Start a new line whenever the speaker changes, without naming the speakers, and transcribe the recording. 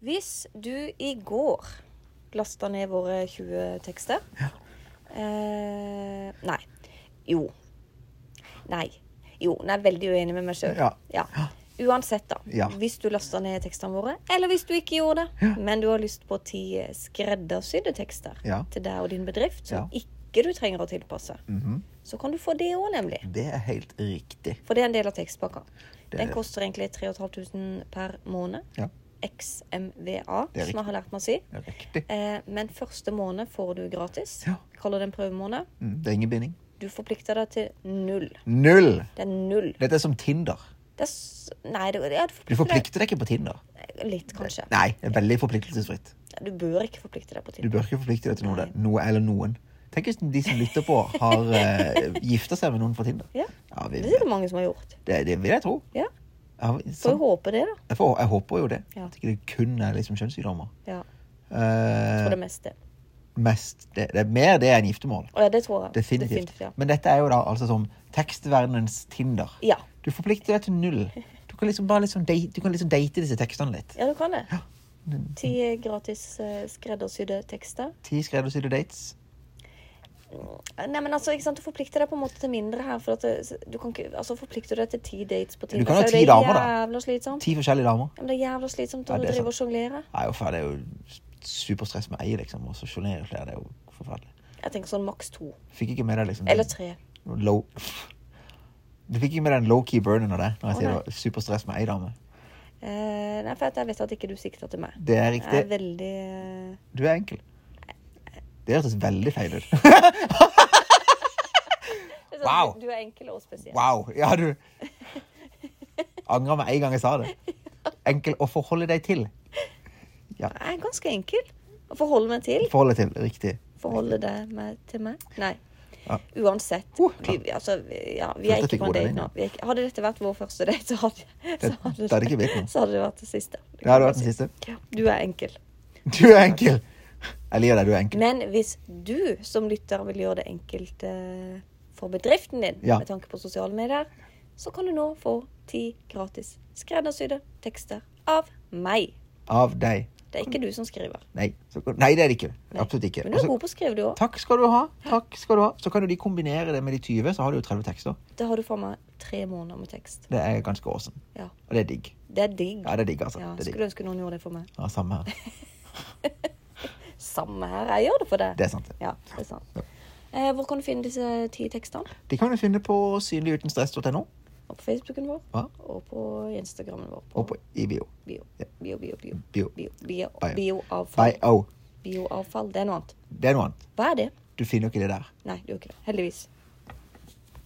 Hvis du i går lasta ned våre 20 tekster eh, Nei. Jo. Nei. Jo, nå er jeg veldig uenig med meg sjøl.
Ja.
Uansett, da.
Ja.
Hvis du lasta ned tekstene våre, eller hvis du ikke gjorde det, men du har lyst på ti eh, skreddersydde tekster
Ja.
til deg og din bedrift, som
Ja.
ikke du trenger å tilpasse, så kan du få det òg, nemlig.
Mhm. Det er helt riktig.
For det er en del av tekstpakka.
Det
Den
er-
koster egentlig 3500 per måned.
Ja.
XMVA,
Det er
som jeg har lært meg å si.
Det er riktig.
Eh, men første måned får du gratis.
Ja.
Kaller det en prøvemåned.
Mm, Det er ingen binding.
Du forplikter deg til null.
Null!
Det er null.
Dette er som Tinder.
Det er s nei, du, ja, du
Du
forplikter
forplikter deg ikke på Tinder.
deg litt, kanskje.
Nei, det er veldig forpliktelsesfritt.
Ja, Du bør ikke forplikte deg på
Du
Tinder.
bør ikke forplikte deg til noe, noe eller noen. Tenk hvis de som lytter på, har uh, gifta seg med noen fra Tinder.
Ja.
Ja, vi,
Det er det mange som har gjort.
det, det vil jeg tro.
Ja,
Ja, vi-
Får
sånn.
jo håpe det, da.
jeg, får, jeg håper jo det.
Ja.
At ikke det kun er liksom kjønnssykdommer.
Ja,
Eh,
For det meste.
mest, det, det er mer det enn giftermål.
Å ja, det tror jeg.
Definitivt.
ja.
Men dette er jo da altså som tekstverdenens Tinder.
Ja.
Du forplikter deg til null. Du kan liksom bare liksom date, du kan liksom date disse tekstene litt.
ja, du kan det.
Ja.
Ti gratis eh, skreddersydde tekster.
Ti skreddersydde dates.
Nei, men altså, ikke sant, Du forplikter deg på en måte til mindre her. for at det, du kan ikke, altså Forplikter du deg til ti dates på Tinder,
kan ha
så er
ti
det
damer, da.
jævla slitsomt.
Ti forskjellige damer.
Ja, men det er jævla slitsomt
Ja,
å
det er
drive og sjonglere.
Nei, uff, det er jo superstress med ei, liksom. Og så sjonglere flere. Det er jo forferdelig.
Jeg tenker sånn maks to.
Fikk ikke med deg liksom
Eller tre.
den low... Du fikk ikke med deg den low-key burnen av det når jeg
Å,
sier
nei.
det var superstress med ei dame.
Eh, nei, for at jeg vet at ikke du sikter til meg.
Det er
Jeg er
riktig.
veldig eh,
Du er enkel. Det hørtes veldig feil ut.
det er sånn,
Wow.
Du, du er enkel og spesiell.
Wow! Ja, du Angra med en gang jeg sa det. Enkel å forholde deg til.
Jeg er ganske enkel å forholde meg til.
Forholde til, riktig.
Forholde deg meg til meg. Nei.
Ja.
Uansett.
Uh,
vi, vi- altså, vi, ja, vi er
Følte jeg
ikke
fikk
på en
ordet
date
inn, ja.
nå. Vi er ikke, hadde dette vært vår første date, så hadde, så
Det- det hadde ikke blitt noe.
så hadde det vært det siste. Det
Det hadde
kan
vært den
jeg
siste.
si. Ja, Du er enkel.
Du er enkel! Jeg liker deg, du er enkel.
Men hvis du som lytter vil gjøre det enkelt eh, for bedriften din
Ja.
med tanke på sosiale medier, så kan du nå få ti gratis skreddersydde tekster av meg.
Av deg.
Det er ikke du som skriver.
Nei, så, kan- nei det er det ikke.
Nei.
Absolutt ikke. Altså-
Men du er
Og så-
god på å skrive, du òg.
takk skal du ha. Takk skal du ha. Så kan jo de kombinere det med de 20, så har du jo 30 tekster.
Da har du faen meg tre måneder med tekst.
Det er ganske awesome.
Ja.
Og det er digg.
Det er digg.
Ja, det er digg, altså.
Ja,
Det er digg.
skulle ønske noen gjorde det for meg.
Ja, samme her.
Samme her, jeg gjør det for deg.
Det er sant.
Ja, det er sant.
Ja.
Eh, hvor kan du finne disse ti tekstene?
De kan du finne på synligutenstress.no
Og på Facebooken vår.
Ja.
Og på Instagrammen vår.
og på IBIO.
bio. Bio, bio, bio.
Bio.
Bio, bio,
Bio.
bioavfall.
Bio.
Bioavfall, det er noe annet.
Det er noe annet.
Hva er det?
Du finner jo ikke det der.
Nei, det er jo ikke det. Heldigvis.